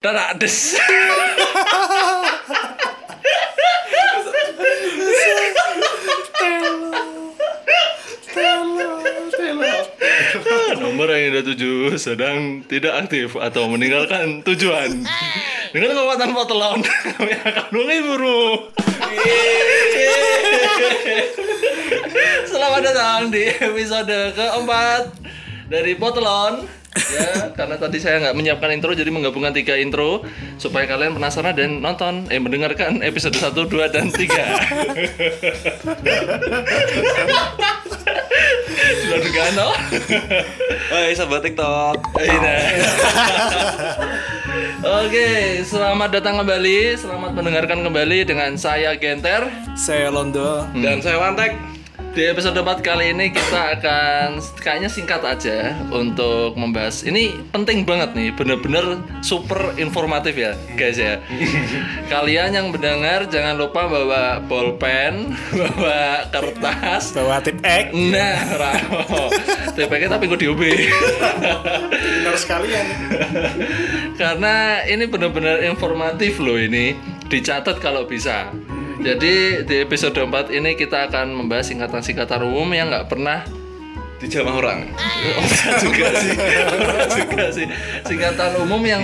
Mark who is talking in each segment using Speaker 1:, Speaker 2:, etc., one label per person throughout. Speaker 1: Dadah, des. Nomor yang ada tujuh sedang tidak aktif atau meninggalkan tujuan. Dengan kekuatan potelon, kami akan menghiburu. Selamat datang di episode keempat dari Potelon. Ya, karena tadi saya nggak menyiapkan intro, jadi menggabungkan tiga intro supaya kalian penasaran dan nonton, eh mendengarkan episode 1, 2, dan 3 Sudah dugaan toh?
Speaker 2: Hai sahabat TikTok.
Speaker 1: Iya. Oke, selamat datang kembali, selamat mendengarkan kembali dengan saya Genter
Speaker 3: Saya Londo.
Speaker 2: Dan saya Wantek.
Speaker 1: Di episode 4 kali ini kita akan kayaknya singkat aja untuk membahas ini penting banget nih, bener-bener super informatif ya guys ya. Kalian yang mendengar jangan lupa bawa bolpen, bawa kertas,
Speaker 3: Bawa tip X.
Speaker 1: Nah, Rao. TPK tapi gue diob.
Speaker 3: Benar sekalian.
Speaker 1: Karena ini benar-benar informatif loh ini. Dicatat kalau bisa. Jadi di episode 4 ini kita akan membahas singkatan-singkatan umum yang nggak pernah
Speaker 2: Dijamah orang.
Speaker 1: Oh, nggak juga sih. Nggak juga sih. Singkatan umum yang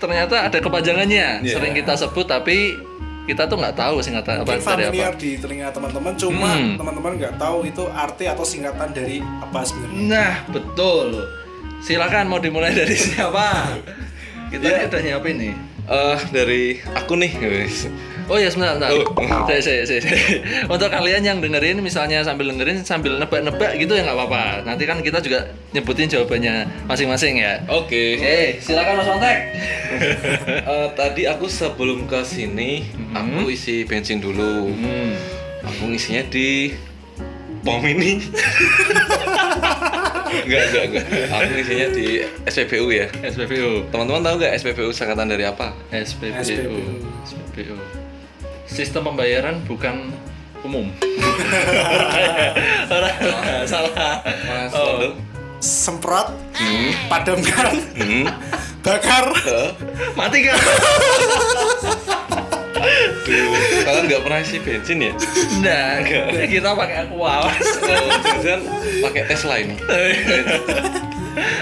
Speaker 1: ternyata ada kepanjangannya.
Speaker 2: Iya.
Speaker 1: Sering kita sebut tapi kita tuh nggak tahu singkatan apa dari apa.
Speaker 3: Familiar di telinga teman-teman, cuma
Speaker 1: Hmm.
Speaker 3: teman-teman nggak tahu itu arti atau singkatan dari apa sebenarnya.
Speaker 1: Nah, betul. Silakan mau dimulai dari siapa? Kita ini udah nyiapin nih.
Speaker 2: Eh dari aku nih guys.
Speaker 1: Oh ya sebentar, sebentar.
Speaker 2: Oh.
Speaker 1: Saya, saya, saya, saya. Untuk kalian yang dengerin, misalnya sambil dengerin, sambil nebak-nebak gitu ya nggak apa-apa. Nanti kan kita juga nyebutin jawabannya masing-masing ya. Oke,
Speaker 2: Oke.
Speaker 1: silakan Mas Montek.
Speaker 2: Eh, tadi aku sebelum ke sini
Speaker 1: Mm-hmm.
Speaker 2: aku isi bensin dulu. Aku ngisinya di pom ini. enggak, enggak, enggak. Aku ngisinya di SPBU ya.
Speaker 1: SPBU.
Speaker 2: Teman-teman tahu nggak SPBU singkatan dari apa?
Speaker 1: SPBU.
Speaker 3: SPBU.
Speaker 1: SPBU. Sistem pembayaran bukan umum. Orang- salah.
Speaker 2: Mas
Speaker 1: Oh.
Speaker 2: Londo.
Speaker 3: Semprot,
Speaker 1: Hmm.
Speaker 3: padamkan, bakar.
Speaker 1: Mati kan?
Speaker 2: Duh, kalian nggak pernah isi bensin ya?
Speaker 1: Nah, kita pakai aquawas.
Speaker 2: Oh, jangan pakai Tesla ini.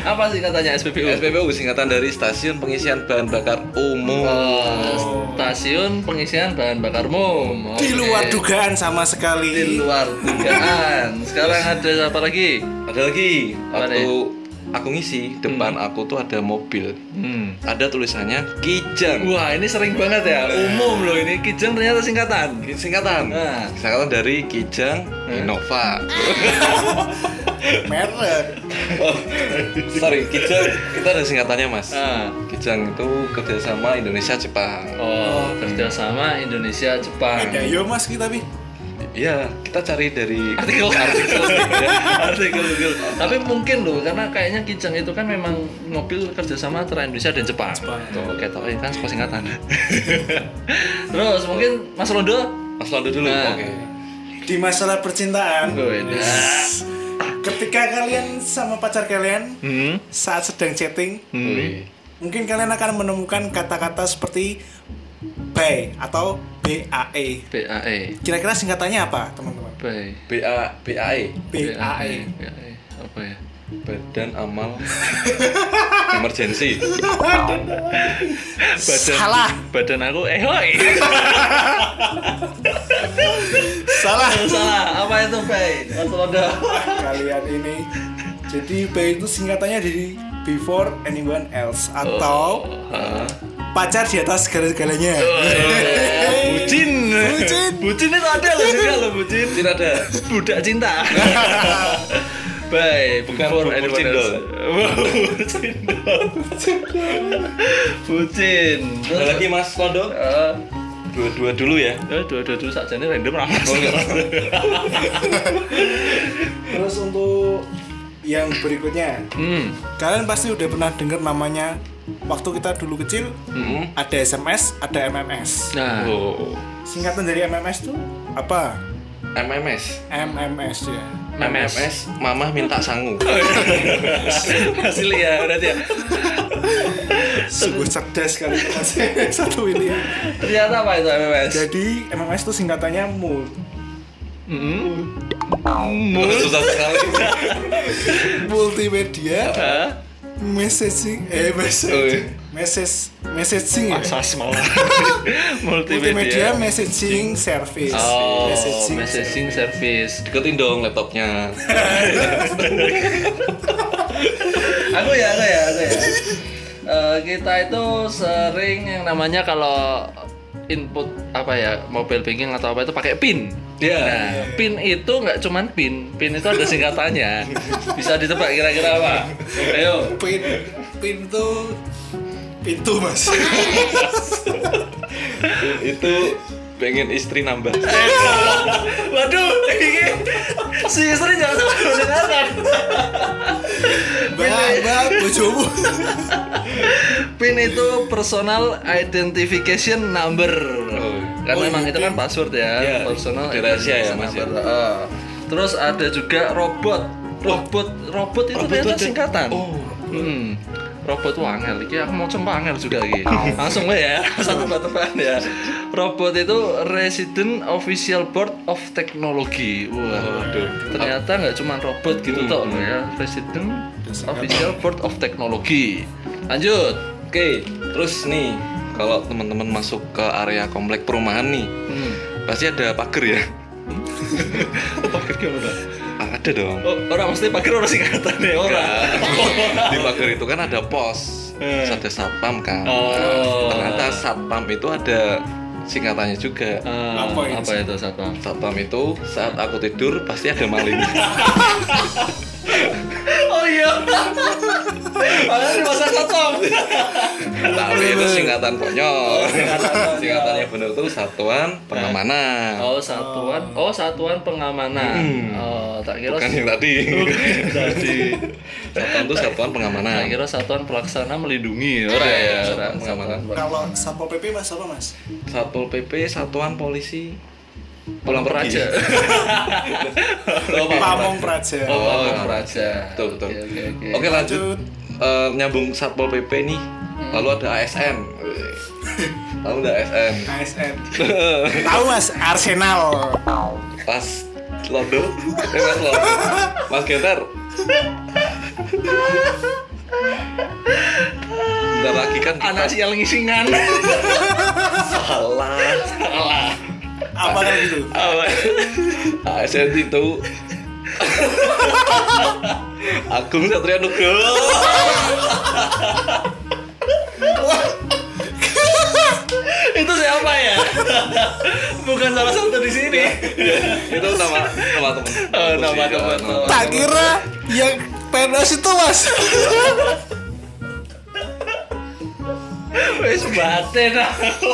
Speaker 1: Apa sih katanya SPBU?
Speaker 2: SPBU singkatan dari Stasiun Pengisian Bahan Bakar Umum.
Speaker 1: Oh, Stasiun pengisian bahan bakar umum.
Speaker 3: Di
Speaker 1: Oke.
Speaker 3: luar dugaan sama sekali.
Speaker 1: Di luar dugaan. Sekarang ada apa lagi?
Speaker 2: Ada lagi
Speaker 1: Apa Mm-hmm.
Speaker 2: waktu aku ngisi depan aku tuh ada mobil.
Speaker 1: Hmm.
Speaker 2: Ada tulisannya Kijang.
Speaker 1: Wah, ini sering banget ya. Umum loh ini. Kijang ternyata singkatan.
Speaker 2: Singkatan.
Speaker 1: Nah.
Speaker 2: Singkatan dari Kijang Innova.
Speaker 3: Merek.
Speaker 2: Oh, sorry, Kijang kita ada singkatannya, Mas.
Speaker 1: Ah.
Speaker 2: Kijang itu kerjasama Indonesia Jepang.
Speaker 1: Oh, kerjasama Indonesia
Speaker 3: Ada
Speaker 1: Jepang.
Speaker 3: yo ya, mas kita bi.
Speaker 2: Iya, kita cari dari
Speaker 1: Artikel, artikel, artikel, artikel. Tapi mungkin loh, karena kayaknya Kijang itu kan memang mobil kerjasama antara Indonesia dan Jepang.
Speaker 3: Jepang.
Speaker 1: Tuh, oke, tau ya kan sekolah singkatan. Terus mungkin Mas Rondo
Speaker 2: Mas Londo dulu.
Speaker 1: Nah.
Speaker 2: Oke.
Speaker 3: Di masalah percintaan,
Speaker 1: Beda.
Speaker 3: ketika kalian sama pacar kalian
Speaker 1: Hmm.
Speaker 3: saat sedang chatting,
Speaker 2: Wih.
Speaker 3: mungkin kalian akan menemukan kata-kata seperti BAE atau BAE.
Speaker 1: BAE.
Speaker 3: Kira-kira singkatannya apa, teman-teman? E.
Speaker 1: BAE.
Speaker 2: BA BAE,
Speaker 3: BAE.
Speaker 1: BAE. Apa ya?
Speaker 2: E. Badan Amal Emergency.
Speaker 3: Salah,
Speaker 1: Badan aku eh, ehoi.
Speaker 3: salah.
Speaker 1: Salah. Apa itu BAE? Mas Londo.
Speaker 3: Kalian ini. Jadi BAE itu singkatannya dari before anyone else atau
Speaker 1: Ah.
Speaker 3: pacar di atas segala-galanya.
Speaker 1: Oh, iya. Eh, Bucin.
Speaker 3: Bucin.
Speaker 1: Bucin itu ada loh juga loh bucin.
Speaker 2: Tidak ada.
Speaker 1: Budak cinta. Baik,
Speaker 2: Bukan bubur cindol.
Speaker 1: Bucin. Bucin.
Speaker 2: Ada lagi Mas Londo?
Speaker 1: Eh,
Speaker 2: Dua-dua dulu ya.
Speaker 1: eh, dua-dua dulu saja ini random ramas.
Speaker 2: Oh, enggak.
Speaker 3: Terus untuk yang berikutnya,
Speaker 1: Hmm.
Speaker 3: kalian pasti udah pernah dengar namanya waktu kita dulu kecil
Speaker 2: Hmm.
Speaker 3: ada SMS, ada MMS.
Speaker 1: Nah,
Speaker 2: Oh.
Speaker 3: Singkatan dari MMS tuh apa?
Speaker 2: MMS.
Speaker 3: MMS ya.
Speaker 1: MMS.
Speaker 2: MMS Oh, iya. Mamah minta sangu.
Speaker 1: Asli ya berarti ya.
Speaker 3: sungguh cerdas kali satu William
Speaker 1: Ternyata apa itu MMS?
Speaker 3: jadi MMS itu singkatannya mood
Speaker 1: Hmm.
Speaker 2: susah sekali
Speaker 3: multimedia
Speaker 1: Hah?
Speaker 3: messaging eh
Speaker 2: Oh, iya.
Speaker 3: messaging message messaging ya
Speaker 1: Sas malah.
Speaker 3: multimedia
Speaker 1: Multimedia.
Speaker 3: messaging service
Speaker 1: Oh,
Speaker 3: messaging,
Speaker 1: messaging service.
Speaker 2: deketin dong laptopnya
Speaker 1: Aku ya, aku ya, aku ya. Eh, kita itu sering yang namanya kalau input apa ya mobile banking atau apa itu pakai pin.
Speaker 2: Iya.
Speaker 1: Nah, pin itu nggak cuman pin, pin itu ada singkatannya. Bisa ditebak kira-kira apa? Ayo.
Speaker 3: pin pintu pintu mas
Speaker 2: itu pengen istri nambah
Speaker 1: Waduh, ini si istri jangan sampai mendengarkan.
Speaker 3: mbak mbak bojomu
Speaker 1: PIN itu personal identification number.
Speaker 2: Oh.
Speaker 1: Kan
Speaker 3: Oh,
Speaker 1: memang
Speaker 3: iya,
Speaker 1: itu kan password ya,
Speaker 2: Iya,
Speaker 1: personal
Speaker 2: di rahasia ya,
Speaker 1: identification
Speaker 2: Mas, ya.
Speaker 1: number. Heeh. Terus ada juga robot. Robot, robot itu
Speaker 2: Robot
Speaker 1: ternyata
Speaker 2: ada-
Speaker 1: singkatan.
Speaker 2: Oh.
Speaker 1: Hmm. Robot tuh angel, iki aku mau coba angel juga iki.
Speaker 2: Oh.
Speaker 1: Langsung aja ya, satu tebak ya. Robot itu Resident Official Board of Technology. Wah,
Speaker 2: Waduh.
Speaker 1: ternyata nggak cuma robot gitu
Speaker 2: Oh. Hmm.
Speaker 1: toh ya. Resident Official Board of Technology. Lanjut.
Speaker 2: Oke, terus nih kalau teman-teman masuk ke area komplek perumahan nih,
Speaker 1: Hmm.
Speaker 2: pasti ada pagar ya? Ah,
Speaker 1: pagar gimana?
Speaker 2: Ada dong.
Speaker 1: Oh, orang mesti pagar orang singkatan ya orang.
Speaker 2: Di pagar itu kan ada pos,
Speaker 1: Eh.
Speaker 2: terus ada satpam kan.
Speaker 1: Oh.
Speaker 2: Nah, ternyata satpam itu ada singkatannya juga.
Speaker 1: Eh,
Speaker 3: Apa itu?
Speaker 1: apa itu satpam?
Speaker 2: Satpam itu saat aku tidur pasti ada maling.
Speaker 1: Oh iya. Padahal di masa satpam.
Speaker 2: Tapi itu singkatan konyol.
Speaker 1: Oh, singkatan Nah. konyol.
Speaker 2: Singkatannya bener tuh satuan pengamanan.
Speaker 1: Oh satuan, oh satuan pengamanan. Oh tak kira
Speaker 2: Bukan yang tadi.
Speaker 1: tadi.
Speaker 2: Satpam itu satuan
Speaker 1: Tak
Speaker 2: pengamanan.
Speaker 1: kira satuan pelaksana melindungi ora ya,
Speaker 2: Iya,
Speaker 1: ora
Speaker 2: satuan pengamanan.
Speaker 1: satuan pelaksana.
Speaker 3: kalau satpol pp mas apa mas
Speaker 2: Satpol PP, Satuan Polisi
Speaker 1: Pulang peraja.
Speaker 2: Oh, Pak.
Speaker 3: pamong praja
Speaker 1: Oh,
Speaker 2: Oh,
Speaker 1: pulang peraja.
Speaker 2: Betul, betul.
Speaker 1: Oke, oke, oke.
Speaker 2: Oke lanjut
Speaker 3: Lanjut.
Speaker 2: Eh, Nyambung Satpol PP nih Lalu ada ASN Lalu ada ASN
Speaker 3: ASN tahu mas Arsenal
Speaker 2: Pas Lodo Eh mas Lodo Mas Getar Bentar lagi kan kita
Speaker 1: Anak sial ngisingan.
Speaker 2: salah
Speaker 1: Salah.
Speaker 3: apa kan gitu
Speaker 2: ASN itu Agung Satria Nugroho
Speaker 1: itu siapa ya? Bukan salah satu di sini.
Speaker 2: Ya, Itu nama nama Iya, teman
Speaker 1: Oh, nama teman.
Speaker 3: tak kira yang penos itu mas
Speaker 1: Wes batin aku.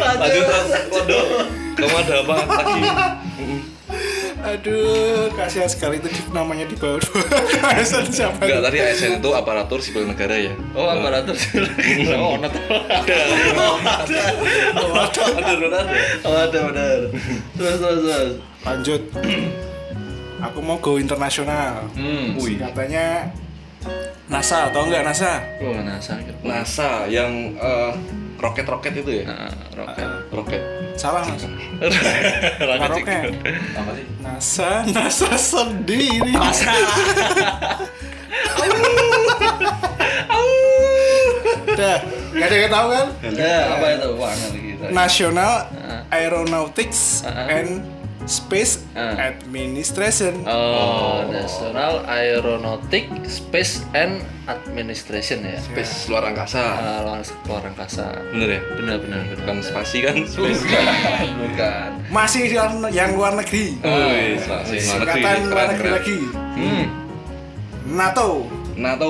Speaker 2: lanjut
Speaker 1: Lanjut.
Speaker 2: Mas Lodo kamu ada apa lagi
Speaker 3: aduh kasihan sekali itu di- namanya di bawah ASN siapa
Speaker 2: enggak tadi ASN itu aparatur sipil negara ya
Speaker 1: Oh, aparatur Oh, not.
Speaker 2: ada ada
Speaker 1: Oh, ada benar. Terus terus terus.
Speaker 3: lanjut aku mau go internasional
Speaker 1: Hmm.
Speaker 2: Wih.
Speaker 3: katanya NASA atau enggak NASA
Speaker 1: Gua penasaran. Nah,
Speaker 2: NASA yang roket roket itu ya
Speaker 1: Ah. roket.
Speaker 2: roket
Speaker 3: salah mas
Speaker 1: Roket.
Speaker 3: Maroke
Speaker 2: apa sih
Speaker 3: NASA NASA sendiri NASA udah gak ada yang tahu kan
Speaker 1: Ya, apa itu? Wah, nanti kita.
Speaker 3: Nah.
Speaker 2: Nah,
Speaker 3: National
Speaker 2: iya.
Speaker 1: Ah.
Speaker 3: Aeronautics
Speaker 1: Ah.
Speaker 3: and Space
Speaker 2: Iya.
Speaker 1: Ah.
Speaker 3: Administration
Speaker 1: Oh, National Aeronautic Space and Administration ya.
Speaker 2: space luar angkasa
Speaker 1: Ah, luar luar angkasa.
Speaker 2: bener ya
Speaker 1: Benar benar benar.
Speaker 2: bukan spasi kan space
Speaker 1: Bukan, bukan.
Speaker 3: masih yang, yang luar negeri
Speaker 2: Wih, spasi Oh, luar negeri
Speaker 3: singkatan luar
Speaker 2: keren
Speaker 3: negeri
Speaker 2: keren
Speaker 3: lagi
Speaker 1: Hmm.
Speaker 3: NATO
Speaker 2: NATO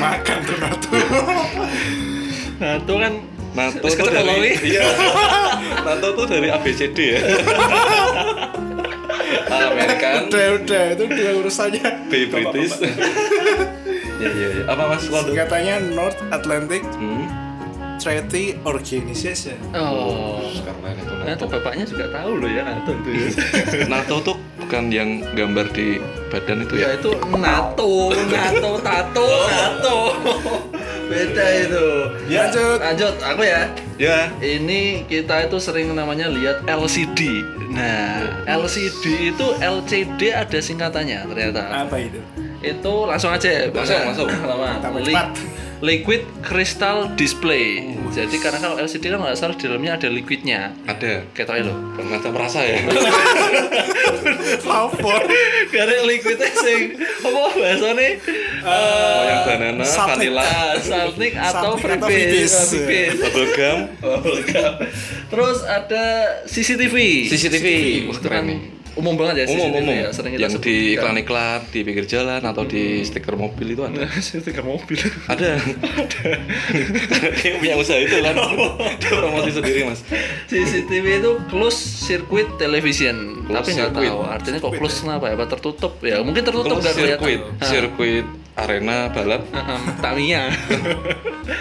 Speaker 3: makan tuh NATO
Speaker 1: Nah, itu kan
Speaker 2: NATO
Speaker 1: Terus
Speaker 2: tuh
Speaker 1: ketemu Loli.
Speaker 2: dari iya NATO tuh dari ABCD ya American
Speaker 3: udah udah itu udah urusannya
Speaker 2: B kan? British ya ya ya apa mas Lodo
Speaker 3: singkatannya North Atlantic
Speaker 2: Hmm.
Speaker 3: Treaty Organization
Speaker 1: Oh.
Speaker 2: karena itu
Speaker 1: Nah,
Speaker 2: NATO.
Speaker 1: tuh bapaknya juga tahu loh ya NATO itu. ya.
Speaker 2: NATO tuh bukan yang gambar di badan itu
Speaker 1: Ya
Speaker 2: ya?
Speaker 1: itu NATO, NATO, tato, NATO. Beda itu.
Speaker 3: Ya, lanjut.
Speaker 1: Lanjut, aku ya.
Speaker 2: Ya.
Speaker 1: Ini kita itu sering namanya lihat LCD. Nah, LCD itu LCD ada singkatannya ternyata.
Speaker 3: Apa itu?
Speaker 1: Itu langsung aja, Bang.
Speaker 2: Langsung, langsung.
Speaker 1: Lama.
Speaker 3: Tambah
Speaker 1: Li-
Speaker 3: cepat.
Speaker 1: liquid Crystal Display. Jadi karena kalau LCD kan nggak salah di dalamnya ada liquidnya.
Speaker 2: Ada.
Speaker 1: Kayak tau ya, lo.
Speaker 2: Ternyata merasa ya.
Speaker 3: Favor.
Speaker 1: Karena liquidnya sing apa bahasane?
Speaker 2: Oh, yang banana,
Speaker 3: Sapit.
Speaker 2: vanilla,
Speaker 1: Ah, something atau
Speaker 3: Something atau
Speaker 1: free
Speaker 3: freebies.
Speaker 2: bubble gum.
Speaker 1: Terus ada CCTV.
Speaker 2: CCTV. Wah,
Speaker 1: Itu
Speaker 2: keren
Speaker 1: kan
Speaker 2: nih.
Speaker 1: umum banget ya
Speaker 2: Umum,
Speaker 1: CCTV
Speaker 2: umum.
Speaker 1: ya, sering kita
Speaker 2: Yang
Speaker 1: sebut. Hmm.
Speaker 2: di iklan-iklan, di pinggir jalan, atau di stiker mobil itu ada.
Speaker 1: stiker mobil.
Speaker 2: Ada. Yang punya usaha itu kan.
Speaker 1: Oh.
Speaker 2: Dia promosi sendiri, Mas.
Speaker 1: CCTV itu close circuit television.
Speaker 2: Closed
Speaker 1: Tapi nggak
Speaker 2: circuit.
Speaker 1: tahu artinya kok close kenapa ya? Apa tertutup ya? Ah. Mungkin tertutup
Speaker 2: Kalau
Speaker 1: nggak kelihatan.
Speaker 2: sirkuit, sirkuit arena balap,
Speaker 1: Ahem, Tamiya.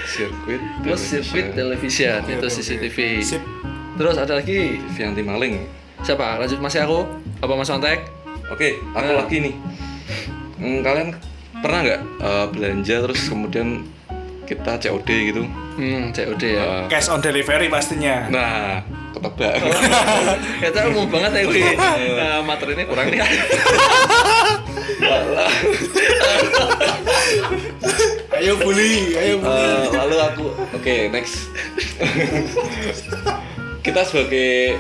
Speaker 2: sirkuit.
Speaker 1: Close circuit television
Speaker 2: television. Iya,
Speaker 1: itu
Speaker 3: Oke, oke.
Speaker 1: CCTV.
Speaker 3: Sip.
Speaker 1: Terus ada lagi
Speaker 2: TV anti maling.
Speaker 1: siapa? Lanjut Mas aku apa Mas Ontek?
Speaker 2: Oke, aku
Speaker 1: Nah.
Speaker 2: lagi nih. Hmm, Kalian pernah nggak eh, belanja terus kemudian kita COD gitu?
Speaker 1: Hmm, COD ya.
Speaker 2: Eh,
Speaker 3: Cash on delivery pastinya.
Speaker 2: nah, ketebak.
Speaker 1: Oh. Kita umum banget ya gue. Nah, materinya kurang nih.
Speaker 3: Ayo bully, ayo bully.
Speaker 2: Eh, lalu aku, oke next. kita sebagai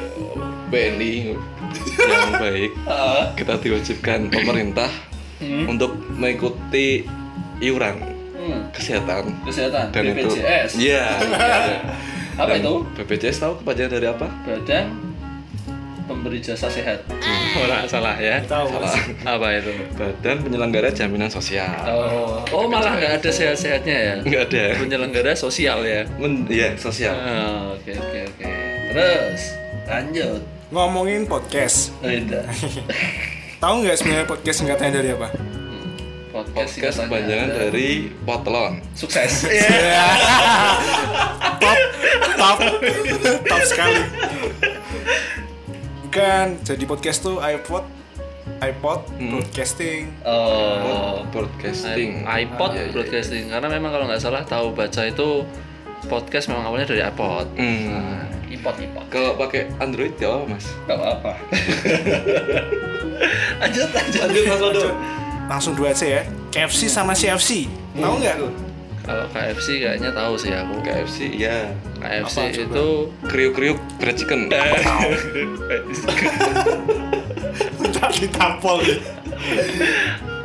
Speaker 2: BNI yang baik, kita diwajibkan pemerintah untuk mengikuti iuran
Speaker 1: Hmm,
Speaker 2: kesehatan
Speaker 1: kesehatan
Speaker 2: dan
Speaker 1: BPJS.
Speaker 2: itu iya iya.
Speaker 1: Apa
Speaker 2: Dan
Speaker 1: itu?
Speaker 2: BPJS tahu kepanjangan dari apa
Speaker 1: Badan pemberi jasa sehat. Ora salah ya.
Speaker 3: Tahu.
Speaker 1: Apa itu?
Speaker 2: Badan Penyelenggara Jaminan Sosial
Speaker 1: Oh, oh malah nggak ada sehat-sehatnya ya.
Speaker 2: nggak ada
Speaker 1: Penyelenggara sosial ya.
Speaker 2: Men, ya sosial
Speaker 1: Ah, Oke oke oke. Terus lanjut. Oh, iya,
Speaker 3: Ngomongin podcast.
Speaker 1: Rida.
Speaker 3: Tahu nggak sebenarnya podcast singkatannya dari apa?
Speaker 1: Hmm, Podcast, Iya.
Speaker 2: podcast
Speaker 1: singkatannya
Speaker 2: kepanjangan
Speaker 1: ada.
Speaker 2: dari potlon
Speaker 1: sukses.
Speaker 3: top, top, top sekali. Bukan, Kan, jadi podcast tuh iPod, iPod,
Speaker 2: Hmm.
Speaker 3: broadcasting.
Speaker 1: Oh.
Speaker 2: broadcasting
Speaker 1: iPod
Speaker 2: Iya, iya, iya.
Speaker 1: broadcasting karena memang kalau nggak salah tahu baca itu podcast memang awalnya dari iPod. Nah.
Speaker 2: hmm.
Speaker 1: iPod iPod.
Speaker 2: kalau pakai Android gak apa mas
Speaker 1: Gak apa. lanjut lanjut.
Speaker 2: mas Waldo
Speaker 3: Langsung dua aja ya. Hmm. KFC sama CFC. Tahu nggak lu?
Speaker 1: Kalau KFC kayaknya tahu sih aku.
Speaker 2: KFC ya
Speaker 1: KFC
Speaker 3: Apa coba?
Speaker 1: itu
Speaker 2: kriuk kriuk fried chicken
Speaker 1: Eh,
Speaker 2: Iya.
Speaker 3: Bentar ditampol.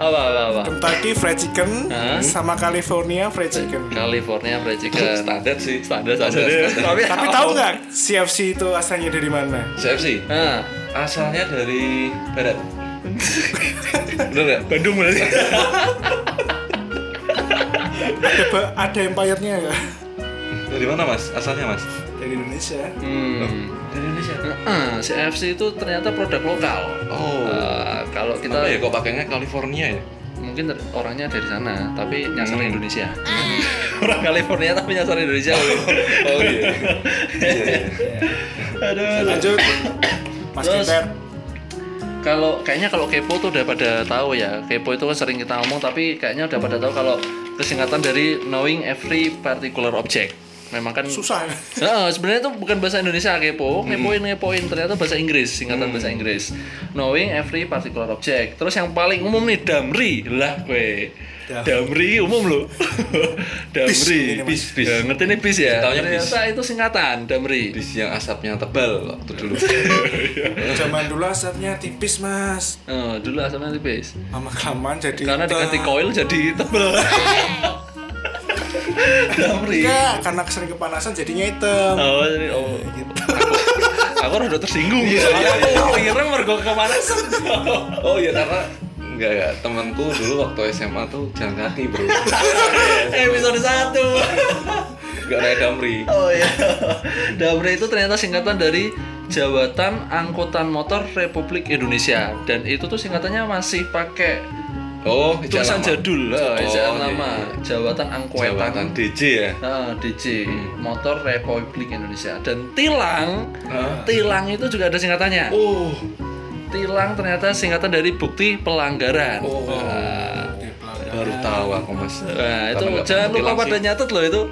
Speaker 1: apa apa apa.
Speaker 3: Kentucky Fried Chicken
Speaker 1: Hah?
Speaker 3: sama California Fried Chicken.
Speaker 1: California fried chicken.
Speaker 2: standar sih
Speaker 1: iya. Standar saja deh.
Speaker 3: Tapi tahu nggak CFC itu asalnya dari mana?
Speaker 2: CFC
Speaker 1: Nah,
Speaker 2: asalnya dari barat bener nggak
Speaker 1: Bandung berarti.
Speaker 3: Ada, ba- ada empire-nya nggak?
Speaker 2: dari mana mas asalnya mas
Speaker 3: Dari Indonesia.
Speaker 1: Hmm. Ah,
Speaker 2: dari Indonesia
Speaker 1: Heeh, CFC itu ternyata produk lokal.
Speaker 2: oh
Speaker 1: Eh, kalau kita
Speaker 2: Kenapa ya kok pakainya California ya?
Speaker 1: mungkin ter- orangnya dari sana tapi nyasar Indonesia orang California tapi nyasar Indonesia
Speaker 2: Oh iya.
Speaker 1: aduh
Speaker 3: Lanjut. Mas
Speaker 1: Terus.
Speaker 3: Keter.
Speaker 1: kalau kayaknya kalau kepo tuh udah pada tahu ya kepo itu kan sering kita ngomong tapi kayaknya udah pada tahu kalau kesingkatan dari knowing every particular object memang kan
Speaker 3: Susah.
Speaker 1: Nah, sebenarnya itu bukan bahasa Indonesia kepo, kepoin kepoin ternyata bahasa Inggris, singkatan bahasa Inggris. Knowing every particular object. Terus yang paling umum nih damri lah gue.
Speaker 3: Dam-
Speaker 1: Damri umum loh. damri,
Speaker 3: ini, Mas.
Speaker 1: bis, bis. Ya, ngerti nih bis ya.
Speaker 2: Taunya bis.
Speaker 1: Ternyata itu singkatan damri.
Speaker 2: Bis yang asapnya tebal waktu dulu.
Speaker 3: Zaman dulu asapnya tipis mas.
Speaker 1: Eh, dulu asalnya itu bis.
Speaker 3: Lama kelamaan jadi.
Speaker 1: Karena
Speaker 3: hitam.
Speaker 1: diganti koil jadi tebel. damri.
Speaker 3: Enggak, karena sering kepanasan jadinya hitam.
Speaker 1: Oh, jadi oh. Aku, aku udah tersinggung. Iya, iya, Akhirnya mergo kemana?
Speaker 2: Oh iya karena enggak ya temanku dulu waktu SMA tuh jalan kaki bro.
Speaker 1: episode 1
Speaker 2: Enggak naik damri.
Speaker 1: oh ya Damre itu ternyata singkatan dari Jabatan Angkutan Motor Republik Indonesia dan itu tuh singkatannya masih pakai
Speaker 2: Oh
Speaker 1: tulisan
Speaker 2: ejaan lama.
Speaker 1: jadul lah
Speaker 2: Oh,
Speaker 1: ejaan
Speaker 2: iya,
Speaker 1: lama
Speaker 2: iya.
Speaker 1: Jabatan
Speaker 2: Jabatan
Speaker 1: Angkutan
Speaker 2: DJ ya.
Speaker 1: Nah, DJ Motor Republik Indonesia dan tilang
Speaker 2: Hah?
Speaker 1: tilang itu juga ada singkatannya
Speaker 2: Oh
Speaker 1: tilang ternyata singkatan dari bukti pelanggaran.
Speaker 3: Oh.
Speaker 1: Nah,
Speaker 3: Di pelanggaran.
Speaker 2: baru tahu aku mas
Speaker 1: Nah, itu
Speaker 2: Lama nggak
Speaker 1: jangan
Speaker 2: pernah
Speaker 1: lupa
Speaker 2: tilang
Speaker 1: pada
Speaker 2: sih.
Speaker 1: nyatet loh itu.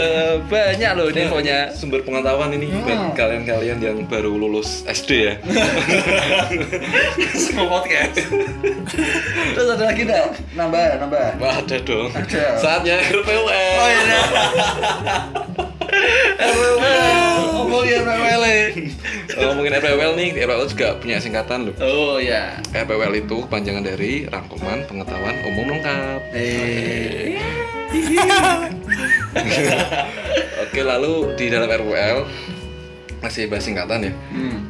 Speaker 1: Banyak loh ini infonya.
Speaker 2: sumber pengetahuan ini
Speaker 1: Hmm.
Speaker 2: bagi kalian-kalian yang baru lulus SD ya
Speaker 1: Semua podcast. Terus ada lagi enggak?
Speaker 4: nambah nambah
Speaker 2: Wah, ada dong
Speaker 4: Ada.
Speaker 2: saatnya RPUM
Speaker 1: Oh iya. Oh, iya,
Speaker 4: ngomongin MML
Speaker 1: E.
Speaker 2: Kalau ngomongin RPWL E nih RPWL juga punya singkatan loh
Speaker 1: Oh ya.
Speaker 2: RPWL itu kepanjangan dari rangkuman pengetahuan umum lengkap
Speaker 4: eh
Speaker 2: Oke, lalu di dalam RWL masih bahas singkatan ya.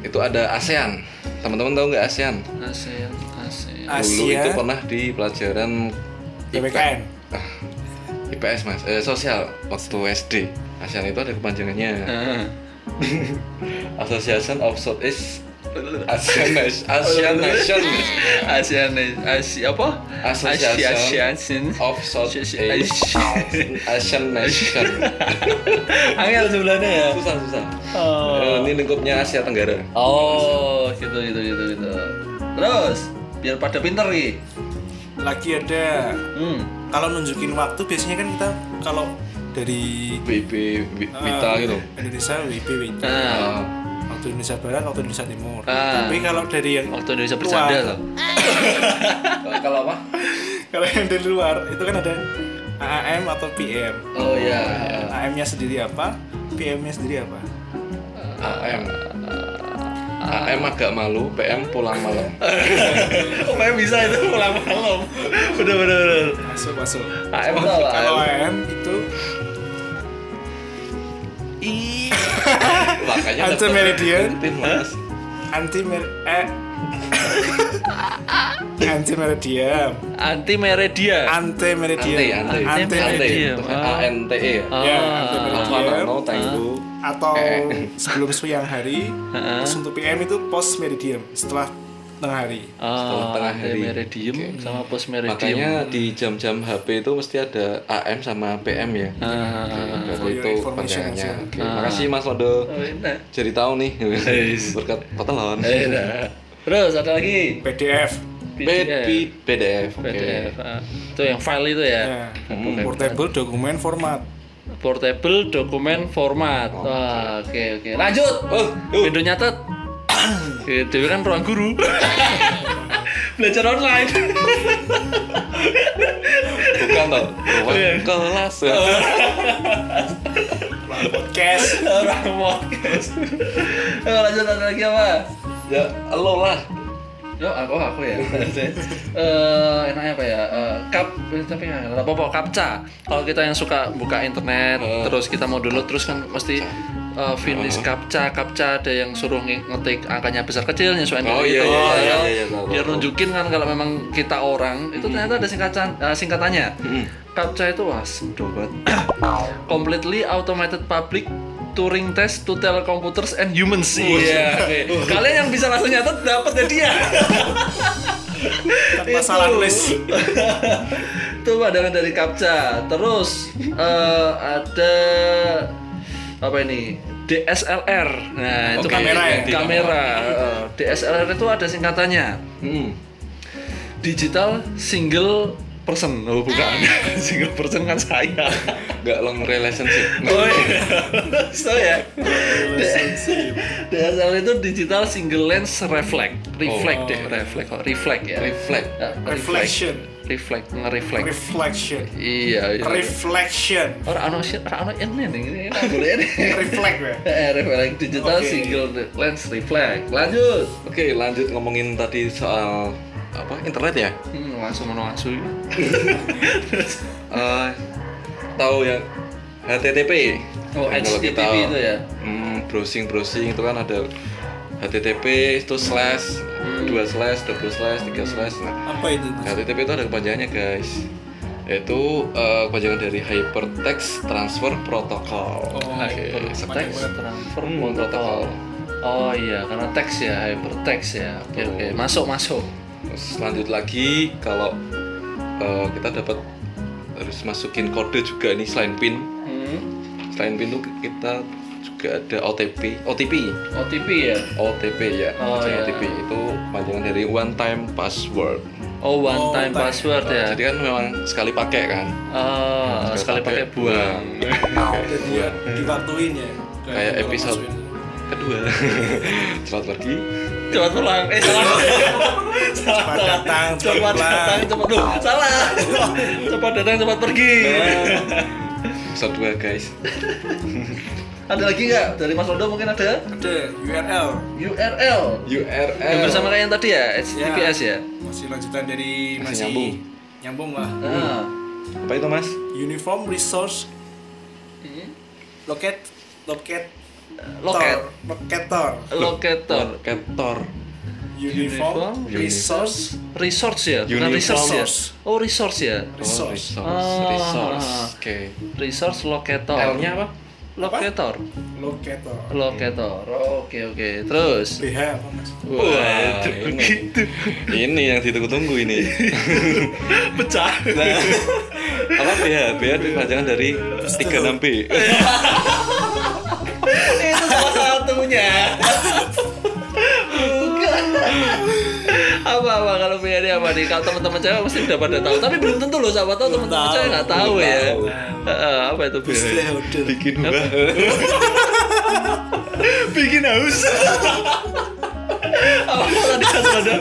Speaker 2: Itu ada ASEAN. Teman-teman tahu nggak ASEAN?
Speaker 1: ASEAN, ASEAN.
Speaker 2: Dulu
Speaker 3: Asia.
Speaker 2: itu pernah di pelajaran
Speaker 3: PPKN.
Speaker 2: Ah, IPS mas, eh, sosial waktu SD. ASEAN itu ada
Speaker 1: Eh.
Speaker 2: kepanjangannya. Association of Southeast ASEAN Nas- ASEAN Nation
Speaker 1: ASEAN, ASEAN apa?
Speaker 2: Asosiasi.
Speaker 1: ASEAN.
Speaker 2: of Southeast Asian Nation.
Speaker 1: Angel sebenarnya ya.
Speaker 2: Susah susah. Eh,
Speaker 1: Oh.
Speaker 2: Ini lingkupnya Asia Tenggara.
Speaker 1: Oh, gitu gitu gitu gitu. Terus biar pada pinter nih.
Speaker 3: Lagi ada.
Speaker 1: Hmm.
Speaker 3: Kalau nunjukin waktu biasanya kan kita kalau dari
Speaker 2: BB
Speaker 3: eh,
Speaker 2: Wita gitu.
Speaker 3: Indonesia WIB WIB.
Speaker 1: Nah,
Speaker 3: Waktu Indonesia Barat, waktu Indonesia Timur.
Speaker 1: Ah.
Speaker 3: Tapi kalau dari yang
Speaker 1: waktu Indonesia
Speaker 3: luar-
Speaker 1: bercanda loh.
Speaker 2: Eh, Kalau apa?
Speaker 3: Kalau yang dari luar itu kan ada AM atau PM.
Speaker 1: Oh ya.
Speaker 3: AM-nya sendiri apa? PM-nya sendiri apa?
Speaker 2: AM AM agak malu, PM pulang malam.
Speaker 1: Oh, kayak bisa itu malam malam. Udah udah udah.
Speaker 3: Masuk masuk.
Speaker 1: AM tau lah.
Speaker 3: Kalau AM itu
Speaker 2: Makanya
Speaker 3: Anti
Speaker 2: dapet
Speaker 3: Meridian.
Speaker 2: Tintin, Mas.
Speaker 3: anti mer eh anti meridian
Speaker 1: Anti Meredia.
Speaker 3: anti meridian
Speaker 2: Ante,
Speaker 3: Eh.
Speaker 2: ante.
Speaker 3: anti meridian
Speaker 1: Meridian.
Speaker 2: A N T E ya.
Speaker 1: Ah.
Speaker 3: ya anti
Speaker 2: Alfa
Speaker 3: meridian
Speaker 2: Nano Tango.
Speaker 3: atau
Speaker 2: Eh.
Speaker 3: sebelum siang hari terus untuk PM itu post meridian setelah tengah hari
Speaker 2: Setelah
Speaker 1: Oh,
Speaker 2: tengah
Speaker 1: anti
Speaker 2: hari.
Speaker 1: Meridium sama post Meridium.
Speaker 2: Makanya di jam-jam HP itu mesti ada AM sama PM ya.
Speaker 1: Ah.
Speaker 2: Oke,
Speaker 3: For
Speaker 2: Berarti
Speaker 3: your
Speaker 2: itu
Speaker 3: information
Speaker 2: panjangannya.
Speaker 3: aja.
Speaker 2: Oke, makasih Mas Lodo.
Speaker 1: Oh, enak.
Speaker 2: Jadi tahu nih
Speaker 1: Yes.
Speaker 2: berkat patelon.
Speaker 1: Oh, Iya, Enak. Terus ada lagi.
Speaker 3: PDF
Speaker 2: B- PDF. Oke.
Speaker 1: PDF. ah. Itu yang file itu ya.
Speaker 3: ya. portable dokumen format
Speaker 1: Portable dokumen format. Wah, oke oke. Lanjut.
Speaker 2: Oh, oh.
Speaker 1: Windows nyatet. Eh, Dewi kan ruang guru. Belajar online.
Speaker 2: Bukan toh.
Speaker 1: Oh, iya.
Speaker 2: Ruang kelas. ya.
Speaker 3: podcast
Speaker 1: Orang podcast. Ayo, lanjut ada lagi apa?
Speaker 2: Ya, lo lah.
Speaker 1: Yo, aku aku ya. Eh, enaknya apa ya? Eh, kap eh, tapi nggak nggak apa-apa kapca. Kalau kita yang suka buka internet,
Speaker 2: Eh.
Speaker 1: terus kita mau download terus kan mesti eh, finish kapca, kapca ada yang suruh nge- ngetik angkanya besar kecil nyesuaiin
Speaker 2: Oh,
Speaker 1: dari
Speaker 2: iya,
Speaker 1: itu.
Speaker 2: iya,
Speaker 1: Padahal
Speaker 2: iya, iya, iya, tahu,
Speaker 1: Biar
Speaker 2: tahu. Hmm.
Speaker 1: nunjukin kan kalau memang kita orang, itu ternyata ada singkatan eh, singkatannya. Kapca itu wah sedo banget. Completely automated public Turing test to tell computers and humans. Iya. oke. Kalian yang bisa langsung nyatet dapat ya dia.
Speaker 3: tanpa salah tulis
Speaker 1: itu pandangan dari Kapca terus eh, ada apa ini DSLR nah itu
Speaker 2: Oke,
Speaker 1: kan
Speaker 3: kamera ya?
Speaker 1: kamera eh, DSLR itu ada singkatannya
Speaker 2: Hmm.
Speaker 1: digital single person oh bukan single person kan saya
Speaker 2: Enggak long relationship.
Speaker 1: oh iya
Speaker 3: Oh,
Speaker 1: so ya DSLR itu digital single lens reflect reflect
Speaker 3: Oh.
Speaker 1: deh reflect oh, reflect ya
Speaker 2: Reflect.
Speaker 1: Eh, reflect
Speaker 3: reflection
Speaker 1: reflect nge-reflect
Speaker 3: reflection
Speaker 1: iya iya.
Speaker 3: reflection
Speaker 1: Orang ano shit, orang ano yang ini, ini nggak boleh ini.
Speaker 3: reflect ya
Speaker 1: Eh, reflect digital
Speaker 3: Oke.
Speaker 1: single lens reflect. Lanjut.
Speaker 2: Oke, lanjut ngomongin tadi soal apa internet ya.
Speaker 1: Hmm, langsung menuasu.
Speaker 2: Eh, tahu ya, yang HTTP.
Speaker 1: Oh,
Speaker 2: Yang kalau
Speaker 1: HTTP itu ya.
Speaker 2: Hmm, browsing browsing itu kan ada HTTP itu slash
Speaker 1: Hmm.
Speaker 2: dua slash double slash tiga slash. Nah,
Speaker 3: apa itu
Speaker 2: HTTP itu ada kepanjangannya guys. Yaitu eh, kepanjangan dari Hypertext Transfer Protocol.
Speaker 3: Oh,
Speaker 2: Oke,
Speaker 1: Text transfer
Speaker 2: Hmm,
Speaker 1: protocol. Oh iya, karena teks ya, hypertext ya. Oke
Speaker 2: Betul.
Speaker 1: oke, masuk masuk.
Speaker 2: Terus lanjut lagi kalau eh, kita dapat harus masukin kode juga nih selain pin.
Speaker 1: Hmm.
Speaker 2: Selain pin tuh kita juga juga ada OTP OTP
Speaker 1: OTP ya?
Speaker 2: OTP ya
Speaker 1: Oh,
Speaker 2: Jadi
Speaker 1: iya.
Speaker 2: OTP itu panjangan dari one time password
Speaker 1: Oh one
Speaker 3: Oh,
Speaker 1: time
Speaker 3: time.
Speaker 1: password ya.
Speaker 2: jadi kan memang sekali pakai kan
Speaker 1: Ah, sekali pakai buang.
Speaker 3: Jadi ya diwaktuin ya.
Speaker 2: Kayak episode. kedua selamat lagi
Speaker 1: Cepat pulang. Eh salah. salah.
Speaker 3: Cepat
Speaker 1: salah.
Speaker 3: datang, cepat
Speaker 1: cepat
Speaker 3: pulang.
Speaker 1: datang, cepat Duh, salah. cepat datang, cepat pergi.
Speaker 3: Nah.
Speaker 2: episode dua guys
Speaker 1: ada lagi nggak dari Mas Rondo mungkin ada
Speaker 3: Ada URL.
Speaker 1: URL. Yang
Speaker 2: URL
Speaker 1: bersama kayak yang tadi ya, HTTPS ya.
Speaker 3: Masih lanjutan dari
Speaker 2: Masih
Speaker 3: masih,
Speaker 2: nyambung.
Speaker 3: nyambung lah.
Speaker 1: Ah.
Speaker 2: apa itu mas
Speaker 3: Uniform Resource Loket Loket
Speaker 1: Iya. Loket.
Speaker 3: Tor. Loketor.
Speaker 1: Locator.
Speaker 2: kantor
Speaker 1: Uniform
Speaker 3: Uniform Resource
Speaker 1: Resource ya, bukan
Speaker 2: Uniform.
Speaker 1: resource ya.
Speaker 3: Resource.
Speaker 1: Oh resource ya.
Speaker 2: Oh,
Speaker 3: Resource.
Speaker 2: resource
Speaker 1: Ah.
Speaker 2: resource oke
Speaker 1: Resource locator.
Speaker 2: L-nya apa
Speaker 1: Locator.
Speaker 3: Loketor.
Speaker 1: Locator. Oke oke. Terus.
Speaker 3: BH apa mas?
Speaker 2: Wah,
Speaker 1: Waduh,
Speaker 2: ini.
Speaker 1: gitu.
Speaker 2: ini yang ditunggu-tunggu ini
Speaker 1: Pecah.
Speaker 2: Nah, apa BH? BH itu panjangan dari 36B
Speaker 1: itu salah satunya. Bukan. apa apa kalau punya apa nih kalau teman-teman cewek pasti udah pada tahu tapi belum tentu loh siapa tahu teman-teman
Speaker 3: tahu,
Speaker 1: cewek nggak tahu
Speaker 2: belum
Speaker 1: ya
Speaker 2: tahu.
Speaker 1: Heeh, apa itu Bi?
Speaker 3: Stakeholder.
Speaker 2: bikin hubah
Speaker 1: bikin haus apa tadi Mas Rodo?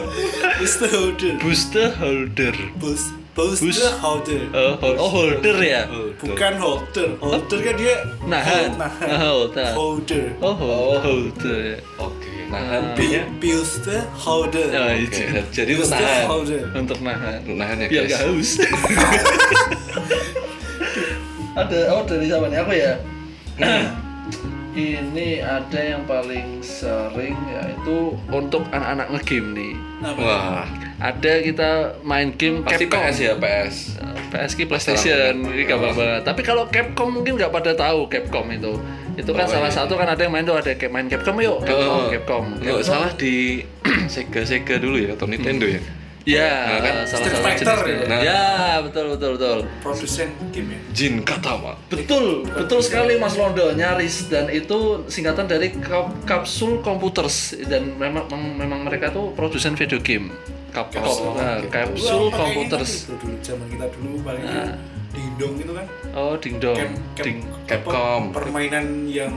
Speaker 3: Stakeholder.
Speaker 1: booster holder
Speaker 3: Bus. Bus.
Speaker 1: Bus.
Speaker 3: Holder.
Speaker 1: Eh, hol- oh holder ya
Speaker 3: Bukan holder. Holder kan dia
Speaker 1: nahan Nah,
Speaker 3: nahan.
Speaker 1: holder
Speaker 3: Holder.
Speaker 1: oh hol- holder ya.
Speaker 2: oke nahan
Speaker 1: Ah.
Speaker 2: B nya
Speaker 3: Pilster holder.
Speaker 1: Oh,
Speaker 2: Oke,
Speaker 1: iya.
Speaker 2: jadi itu
Speaker 3: Pilster
Speaker 2: nahan
Speaker 3: holder.
Speaker 1: untuk nahan
Speaker 2: nahan ya
Speaker 1: biar
Speaker 2: guys
Speaker 1: gak haus ada oh dari siapa nih aku ya
Speaker 2: Nah.
Speaker 1: ini ada yang paling sering yaitu untuk anak-anak ngegame nih
Speaker 3: Apa?
Speaker 2: wah
Speaker 1: ada kita main game
Speaker 2: pasti
Speaker 1: Capcom
Speaker 2: PS ya PS
Speaker 1: PSG PlayStation
Speaker 2: Pasti ya.
Speaker 1: ini gampang banget tapi kalau Capcom mungkin nggak pada tahu Capcom itu itu kan
Speaker 2: Oh,
Speaker 1: salah
Speaker 2: iya.
Speaker 1: satu kan ada yang main tuh ada kayak main Capcom yuk Capcom
Speaker 2: Oh,
Speaker 1: Capcom,
Speaker 2: nggak
Speaker 1: Capcom.
Speaker 2: salah di Sega Sega dulu ya atau Nintendo ya
Speaker 1: ya
Speaker 2: Nah, kan
Speaker 1: salah
Speaker 3: Street
Speaker 1: satu
Speaker 3: Fighter
Speaker 1: jenis-
Speaker 2: ya.
Speaker 1: ya betul betul betul
Speaker 3: Produsen game ya.
Speaker 2: Jin Katama
Speaker 1: Betul, betul sekali Mas Londo, nyaris dan itu singkatan dari Kap- kapsul computers dan memang mem- memang mereka tuh produsen video game. Kapcom,
Speaker 2: Kapsul.
Speaker 1: nah,
Speaker 2: Oke.
Speaker 1: kapsul
Speaker 3: Wah, pakai
Speaker 1: computers.
Speaker 3: ini gitu dulu, dulu zaman kita dulu paling
Speaker 1: Nah.
Speaker 3: di dong itu kan.
Speaker 1: Oh, dingdong.
Speaker 3: Cap- cap-
Speaker 1: Ding
Speaker 2: Capcom.
Speaker 3: apa, permainan yang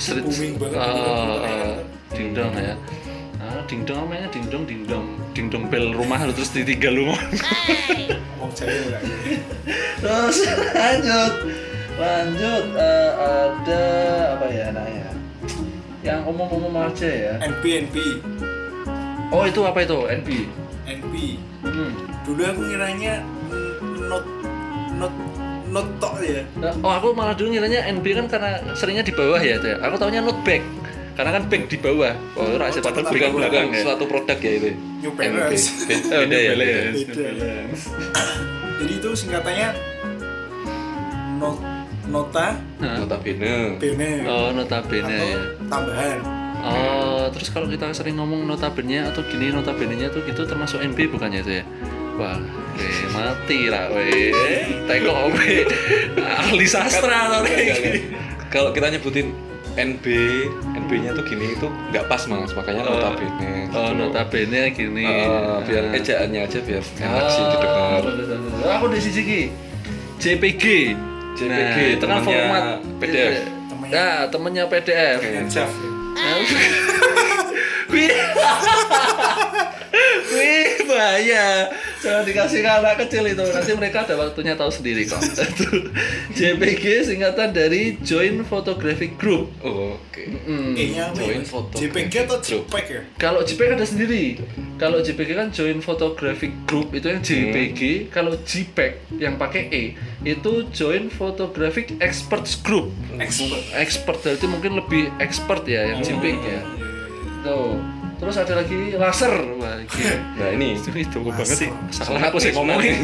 Speaker 1: street.
Speaker 3: booming banget
Speaker 1: Ah,
Speaker 3: dulu kan,
Speaker 1: ah,
Speaker 3: permainan kan.
Speaker 1: dingdong ya. Ah, dingdong namanya dingdong dingdong. Dingdong bel rumah terus ditinggal rumah.
Speaker 3: Wong Jawa lah.
Speaker 1: terus lanjut. Lanjut eh, ada apa ya namanya? Yang umum-umum aja ya.
Speaker 3: NP NP
Speaker 1: Oh itu apa itu? NB.
Speaker 3: NP
Speaker 1: Hmm.
Speaker 3: dulu aku ngiranya mm, not not not tok ya
Speaker 1: Nah, Oh aku malah dulu ngiranya NB kan karena seringnya di bawah ya. Teh. Aku taunya not back. Karena kan back di bawah. Oh itu rahasia
Speaker 3: tetap
Speaker 1: patung
Speaker 3: di
Speaker 1: belakang
Speaker 2: bukan
Speaker 3: bawah.
Speaker 1: belakang
Speaker 2: belakang
Speaker 1: ya.
Speaker 2: suatu produk ya itu
Speaker 3: New
Speaker 2: NB
Speaker 3: Balance
Speaker 2: Beda
Speaker 1: Oh,
Speaker 2: beda ya
Speaker 1: beda
Speaker 2: beda.
Speaker 1: ya.
Speaker 3: Beda. jadi itu singkatannya not nota
Speaker 1: Nah.
Speaker 2: Notabene
Speaker 3: bene
Speaker 1: Oh
Speaker 3: atau
Speaker 1: notabene ya.
Speaker 3: tambahan
Speaker 1: Oh terus kalau kita sering ngomong notabene atau gini notabenenya tuh gitu termasuk NB bukannya itu ya? Wah, weh, mati lah, weh. Tengok obe, ahli sastra atau kayak gini.
Speaker 2: Iya, Kalau kita nyebutin NB, NB-nya tuh gini itu nggak pas mas, makanya
Speaker 1: Oh.
Speaker 2: notabene.
Speaker 1: Oh, notabene gini.
Speaker 2: Eh, biar
Speaker 1: Nah.
Speaker 2: ejaannya aja biar enak
Speaker 1: Ah,
Speaker 2: sih didengar.
Speaker 1: betul, betul, betul. Aku di sisi ki. JPG.
Speaker 2: JPG,
Speaker 1: itu kan
Speaker 2: temennya
Speaker 1: format
Speaker 2: PDF.
Speaker 3: Temennya-
Speaker 1: Nah, temennya PDF.
Speaker 3: dengan Jav
Speaker 1: Nah, Wih. Wih, bahaya. Jangan dikasih ke anak kecil itu. Nanti mereka ada waktunya tahu sendiri kok. JPG singkatan dari Joint Photographic Group.
Speaker 2: Oh, Oke.
Speaker 1: Hmm.
Speaker 3: E nya apa ya?
Speaker 2: Join foto.
Speaker 3: JPG atau JPEG ya
Speaker 1: Kalau JPEG ada sendiri. Kalau JPG kan Joint Photographic Group itu yang JPG. Kalau JPEG yang pakai E itu Joint Photographic Experts Group.
Speaker 3: expert
Speaker 1: Expert berarti mungkin lebih expert ya yang JPEG ya. Tuh. Terus ada lagi laser. Wah, gila.
Speaker 2: Nah ini
Speaker 1: Itu itu gue banget sih. Salah
Speaker 2: Sunat
Speaker 1: aku sih
Speaker 2: nih,
Speaker 1: ngomongin.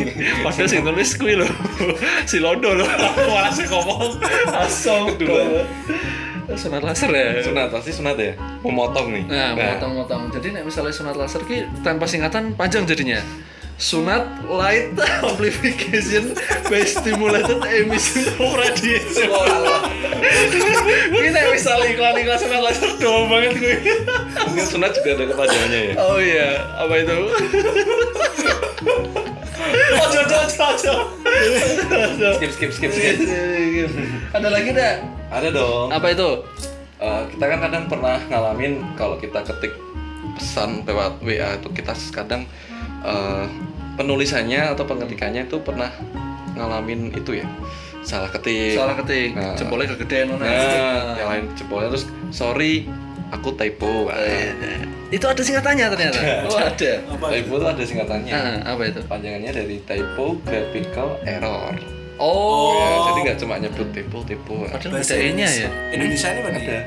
Speaker 1: Padahal sih nulis kui loh. Si Londo loh. Aku malah sih ngomong.
Speaker 2: Eh.
Speaker 1: Asal dulu. Sunat laser ya.
Speaker 2: sunat pasti sunat ya, memotong nih. Nah, Iya.
Speaker 1: Nah, motong-motong. Jadi nek misalnya sunat laser ki tanpa singkatan panjang jadinya. sunat light amplification by stimulated emission of radiation kita misal iklan iklan sunat laser doang banget gue
Speaker 2: Mungkin sunat juga ada kepanjangannya ya.
Speaker 1: oh iya apa itu oh jodoh jodoh
Speaker 2: Skip skip skip skip.
Speaker 1: ada lagi dah
Speaker 2: Ada dong.
Speaker 1: apa itu
Speaker 2: Eh, kita kan kadang pernah ngalamin kalau kita ketik pesan lewat WA itu kita kadang eh, penulisannya atau pengetikannya itu pernah ngalamin itu ya salah ketik.
Speaker 1: salah ketik
Speaker 2: Nah.
Speaker 1: jempolnya kegedean Nona.
Speaker 2: Nah, yang lain jempolnya terus sorry aku typo.
Speaker 1: Eh,
Speaker 2: Nah,
Speaker 1: itu ada singkatannya ternyata oh ada
Speaker 3: Apa
Speaker 2: typo
Speaker 3: itu?
Speaker 2: itu ada singkatannya.
Speaker 1: Ah, apa itu
Speaker 2: Panjangannya dari typographical error.
Speaker 1: oh,
Speaker 2: Ya, jadi nggak cuma nyebut typo typo.
Speaker 1: padahal
Speaker 3: Bahasa
Speaker 1: ada e nya ya
Speaker 3: Indonesia. Indonesia ini mana?
Speaker 2: Ada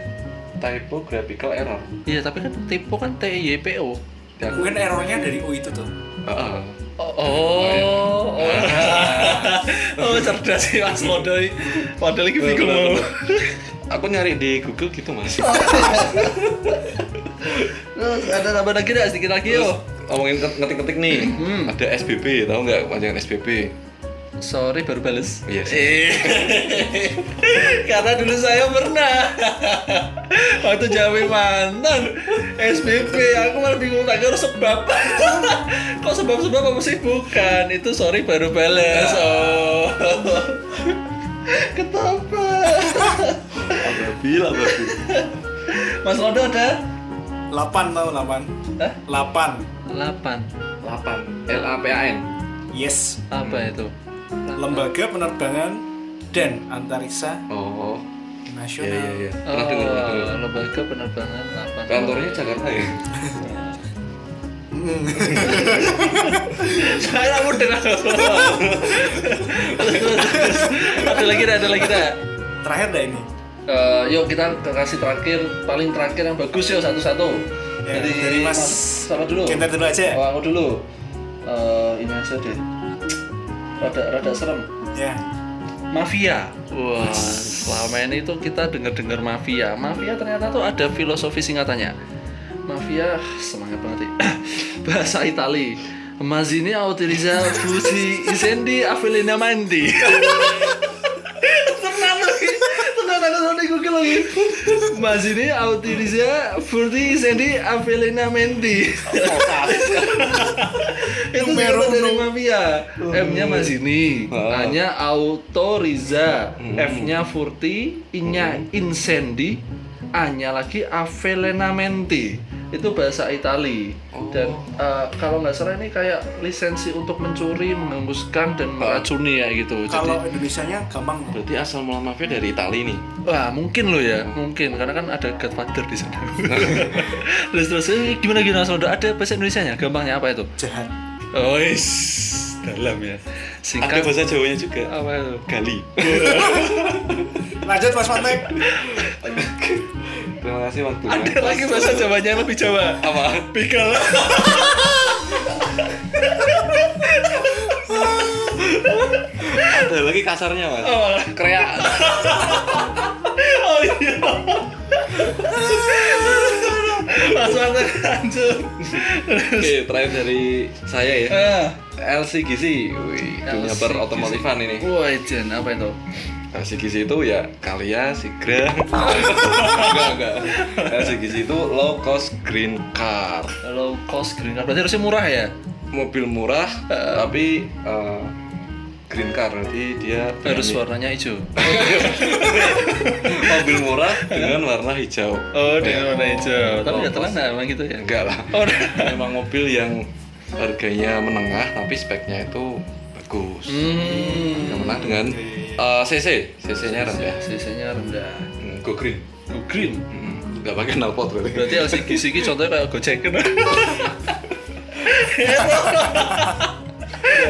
Speaker 2: typographical error.
Speaker 1: iya tapi kan typo kan T Y P O
Speaker 2: Dan,
Speaker 3: Mungkin errornya dari U itu tuh.
Speaker 2: Heeh.
Speaker 1: Oh, oh, oh, cerdas sih Mas Modoi. Padahal lagi bingung mau.
Speaker 2: Aku nyari di Google gitu mas.
Speaker 1: Oh. Terus ada tambah lagi dah sedikit lagi
Speaker 2: Terus
Speaker 1: yo.
Speaker 2: Oh, ngomongin ket- ngetik-ngetik nih,
Speaker 1: Hmm.
Speaker 2: ada SBB, tahu nggak panjangan SBB?
Speaker 1: Sorry baru bales.
Speaker 2: Iya sih.
Speaker 1: Eh. Karena dulu saya pernah waktu Jawa mantan SBB aku malah bingung tak harus sebab kok sebab-sebab apa sih bukan itu sorry baru bales
Speaker 2: Ah.
Speaker 1: oh ketapa
Speaker 2: Ababil, ababil.
Speaker 1: Mas Rodo ada
Speaker 3: 8 tau 8.
Speaker 1: Hah?
Speaker 3: 8.
Speaker 1: 8
Speaker 2: Lapan. L A P A N.
Speaker 3: Yes.
Speaker 1: apa
Speaker 2: Hmm.
Speaker 1: itu
Speaker 3: Lembaga Penerbangan dan Antariksa
Speaker 2: Oh, iya
Speaker 3: Nasional.
Speaker 2: iya iya. Pernah
Speaker 1: Oh,
Speaker 2: dengar, pernah dengar.
Speaker 1: lembaga penerbangan 8
Speaker 2: Kantornya Jakarta ya.
Speaker 1: saya kamu dengar ada lagi dah, ada lagi dah
Speaker 3: Terakhir dah ini.
Speaker 1: Eh, yuk kita kasih terakhir paling terakhir yang bagus yuk satu-satu
Speaker 3: Ya, dari Mas
Speaker 1: sama dulu
Speaker 3: Genter dulu aja. ya.
Speaker 1: oh, aku dulu Eh, ini aja deh rada rada serem
Speaker 3: Ya.
Speaker 1: mafia. Wah, selama ini tuh kita dengar-dengar mafia. Mafia ternyata tuh ada filosofi singkatannya. Mafia semangat banget ya. Bahasa Itali. Mazini autorizza fusi incendi affilina mandi. Tenang lagi. Tenang aku sampai Google lagi. Mazini autorizza fusi incendi affilina mandi. Itu
Speaker 3: Numero
Speaker 1: singkatan dari
Speaker 3: uno.
Speaker 1: mafia. M-nya Mazini,
Speaker 2: Ah.
Speaker 1: A-nya nya Autoriza, F-nya Furti, I-nya Incendi, A-nya lagi Avelenamenti. Itu bahasa Itali. Dan eh, kalau nggak salah ini kayak lisensi untuk mencuri, menghembuskan dan meracuni ya gitu. Jadi
Speaker 3: Kalau Indonesianya gampang.
Speaker 2: Berarti asal mula mafia dari Italia nih.
Speaker 1: wah mungkin lo ya, mungkin karena kan ada Godfather di sana. terus terus eh, gimana gimana Sondo? Ada bahasa Indonesianya? Gampangnya apa itu?
Speaker 3: Jahat.
Speaker 1: Oh, is, dalam ya.
Speaker 2: Ada
Speaker 1: Singkat
Speaker 2: bahasa Jawanya juga.
Speaker 1: apa itu?
Speaker 2: Gali.
Speaker 3: Lanjut Mas Pantek.
Speaker 2: Terima kasih waktunya.
Speaker 1: Ada lagi bahasa Jawanya yang lebih Jawa.
Speaker 2: apa?
Speaker 1: Pickle.
Speaker 2: Ada lagi kasarnya mas.
Speaker 1: Oh,
Speaker 2: Kreak.
Speaker 1: oh iya. Mas Martin lanjut.
Speaker 2: Oke, terakhir dari saya ya.
Speaker 1: Ah.
Speaker 2: LCGC, wih, dunia
Speaker 1: LCGC.
Speaker 2: perotomotifan ini.
Speaker 1: Wah, Jen, apa itu?
Speaker 2: LCGC itu ya Kalia, Sigra. enggak, enggak. LCGC itu low cost green car.
Speaker 1: Low cost green card. Berarti harusnya murah ya?
Speaker 2: Mobil murah tapi eh, green car. Jadi dia
Speaker 1: Harus
Speaker 2: punya
Speaker 1: warnanya hijau.
Speaker 2: mobil murah dengan warna hijau.
Speaker 1: Oh,
Speaker 2: Iya.
Speaker 1: dengan warna hijau. Tapi
Speaker 2: low
Speaker 1: nggak telan
Speaker 2: cost.
Speaker 1: lah, emang gitu ya?
Speaker 2: Enggak lah.
Speaker 1: Oh, udah.
Speaker 2: Memang mobil yang harganya menengah tapi speknya itu bagus.
Speaker 1: Hmm.
Speaker 2: Yang menang dengan eh, CC, CC-nya rendah.
Speaker 1: Sisanya rendah.
Speaker 2: Hmm, Go green.
Speaker 1: Oh, green.
Speaker 2: Hmm, Nggak pakai knalpot berarti.
Speaker 1: Berarti LCG siki contohnya kayak Gojek kan?
Speaker 2: Ya,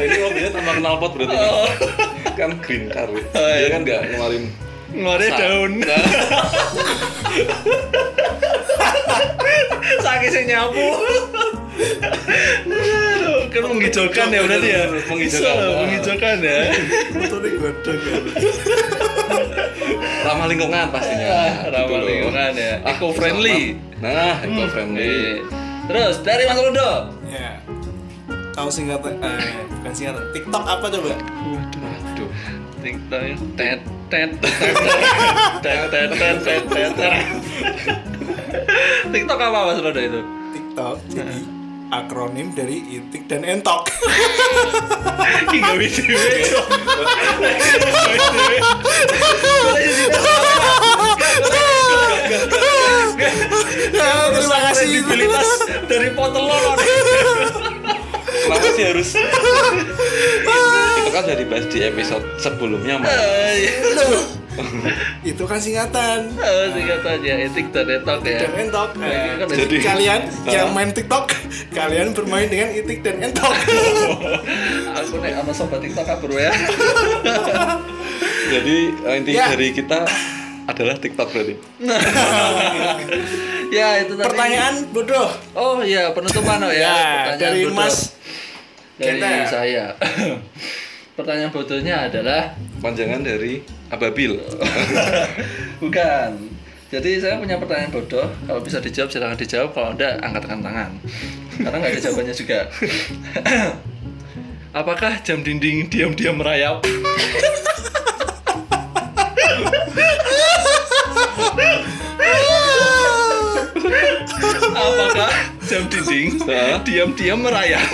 Speaker 2: ini mobilnya tambah knalpot berarti
Speaker 1: Oh.
Speaker 2: kan green car ya. dia
Speaker 1: iya.
Speaker 2: kan nggak ngeluarin Nah,
Speaker 1: Ngore
Speaker 2: Sa-
Speaker 1: daun. Sakit sih nyapu. Aduh, kan menghijaukan ya berarti ya.
Speaker 2: Menghijaukan.
Speaker 1: So, menghijaukan ya.
Speaker 3: Betul nih godok ya.
Speaker 2: ramah lingkungan pastinya
Speaker 1: Ah,
Speaker 2: Gitu
Speaker 1: ramah
Speaker 2: loh.
Speaker 1: lingkungan ya.
Speaker 2: Ah,
Speaker 1: Eco-friendly. Hmm. Iya,
Speaker 2: nah eco friendly
Speaker 1: Terus dari Mas Rudo,
Speaker 3: Ya. tahu singkatan eh bukan singkatan TikTok apa coba
Speaker 2: Waduh.
Speaker 1: TikTok tet tet tet tet tet tet tet tet tet. TikTok apa mas Roda itu?
Speaker 3: TikTok jadi akronim dari itik dan entok
Speaker 1: Ki gak bisa beda.
Speaker 3: Ya, terima kasih
Speaker 1: Kredibilitas dari potelon.
Speaker 2: Kenapa sih harus? itu kan udah dibahas di episode sebelumnya mas.
Speaker 1: Ah.
Speaker 3: Aduh. itu kan singkatan
Speaker 1: Oh, singkatannya etik dan etok ya.
Speaker 3: dan entok
Speaker 1: Nah,
Speaker 3: Nah,
Speaker 1: jadi-
Speaker 3: jadi kalian
Speaker 2: Hah?
Speaker 3: yang main TikTok kalian bermain dengan itik dan entok
Speaker 1: Aku nek sama sobat TikTok kabur ya.
Speaker 2: Jadi eh, inti
Speaker 3: Ya.
Speaker 2: dari kita adalah TikTok berarti.
Speaker 1: Ya itu tadi.
Speaker 3: pertanyaan bodoh
Speaker 1: Oh iya penutupan oh ya.
Speaker 3: ya
Speaker 1: Pertanyaan
Speaker 3: dari
Speaker 1: bodoh.
Speaker 3: Mas
Speaker 1: dari
Speaker 3: Genta.
Speaker 1: saya. Pertanyaan bodohnya adalah
Speaker 2: Panjangan dari Ababil.
Speaker 1: Bukan. Jadi saya punya pertanyaan bodoh. Kalau bisa dijawab silahkan dijawab. Kalau enggak angkatkan tangan. Karena nggak ada jawabannya juga. Apakah jam dinding diam-diam merayap? Apakah jam dinding
Speaker 2: Hah?
Speaker 1: diam-diam merayap?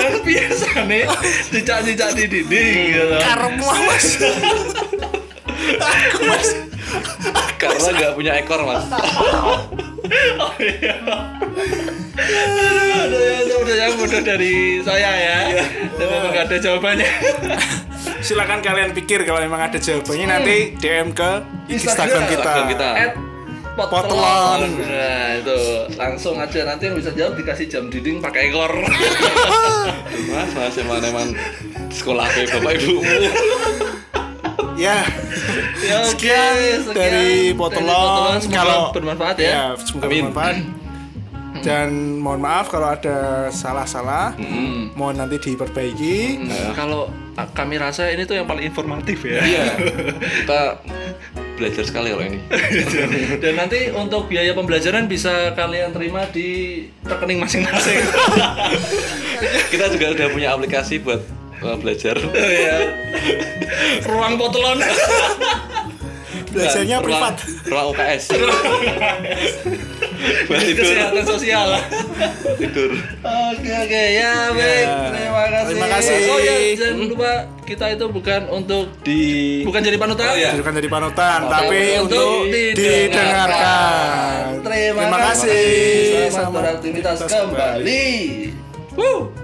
Speaker 1: kan biasa nih cicak-cicak di dinding
Speaker 3: Hmm.
Speaker 1: gitu.
Speaker 3: karepmu Mas aku Mas
Speaker 2: Karena nggak punya ekor mas.
Speaker 1: Oh iya. Aduh, aduh, ya, itu udah yang bodoh dari saya ya.
Speaker 3: Iya.
Speaker 1: Dan
Speaker 3: Oh.
Speaker 1: memang nggak ada jawabannya.
Speaker 3: silakan kalian pikir kalau memang ada jawabannya nanti DM ke Instagram kita
Speaker 2: Instagram kita.
Speaker 1: At
Speaker 3: Potelon.
Speaker 1: Potelon. Nah, itu langsung aja nanti yang bisa jawab dikasih jam dinding pakai ekor.
Speaker 2: Aduh, Mas mas emang emang sekolah kayak bapak ibu.
Speaker 3: ya
Speaker 1: Ya, oke,
Speaker 3: sekian,
Speaker 1: sekian
Speaker 3: dari Potelon
Speaker 1: Semoga
Speaker 3: kalau Iya,
Speaker 1: bermanfaat ya.
Speaker 3: semoga
Speaker 2: Amin.
Speaker 3: bermanfaat dan mohon maaf kalau ada salah-salah mohon nanti diperbaiki
Speaker 1: Nah, Kalau kami rasa ini tuh yang paling informatif ya.
Speaker 2: Iya. Kita belajar sekali loh ini.
Speaker 1: Dan nanti untuk biaya pembelajaran bisa kalian terima di rekening masing-masing.
Speaker 2: Kita juga udah punya aplikasi buat eh, belajar.
Speaker 1: ya. Ruang potelon.
Speaker 3: belajarnya
Speaker 2: Ruang-
Speaker 3: privat
Speaker 2: Ruang UKS. buat tidur.
Speaker 1: Kesehatan sosial.
Speaker 2: tidur.
Speaker 1: Oke oke ya baik. Terima kasih.
Speaker 3: Terima kasih.
Speaker 1: Oh ya jangan lupa kita itu bukan untuk
Speaker 2: Di.
Speaker 1: bukan jadi panutan.
Speaker 2: Oh, iya.
Speaker 3: bukan jadi panutan tapi
Speaker 1: Tapi
Speaker 3: untuk didengarkan
Speaker 1: Terima,
Speaker 3: terima kasih
Speaker 1: Selamat
Speaker 3: Selamat
Speaker 1: beraktivitas
Speaker 3: beraktivitas
Speaker 1: kembali. Wuh.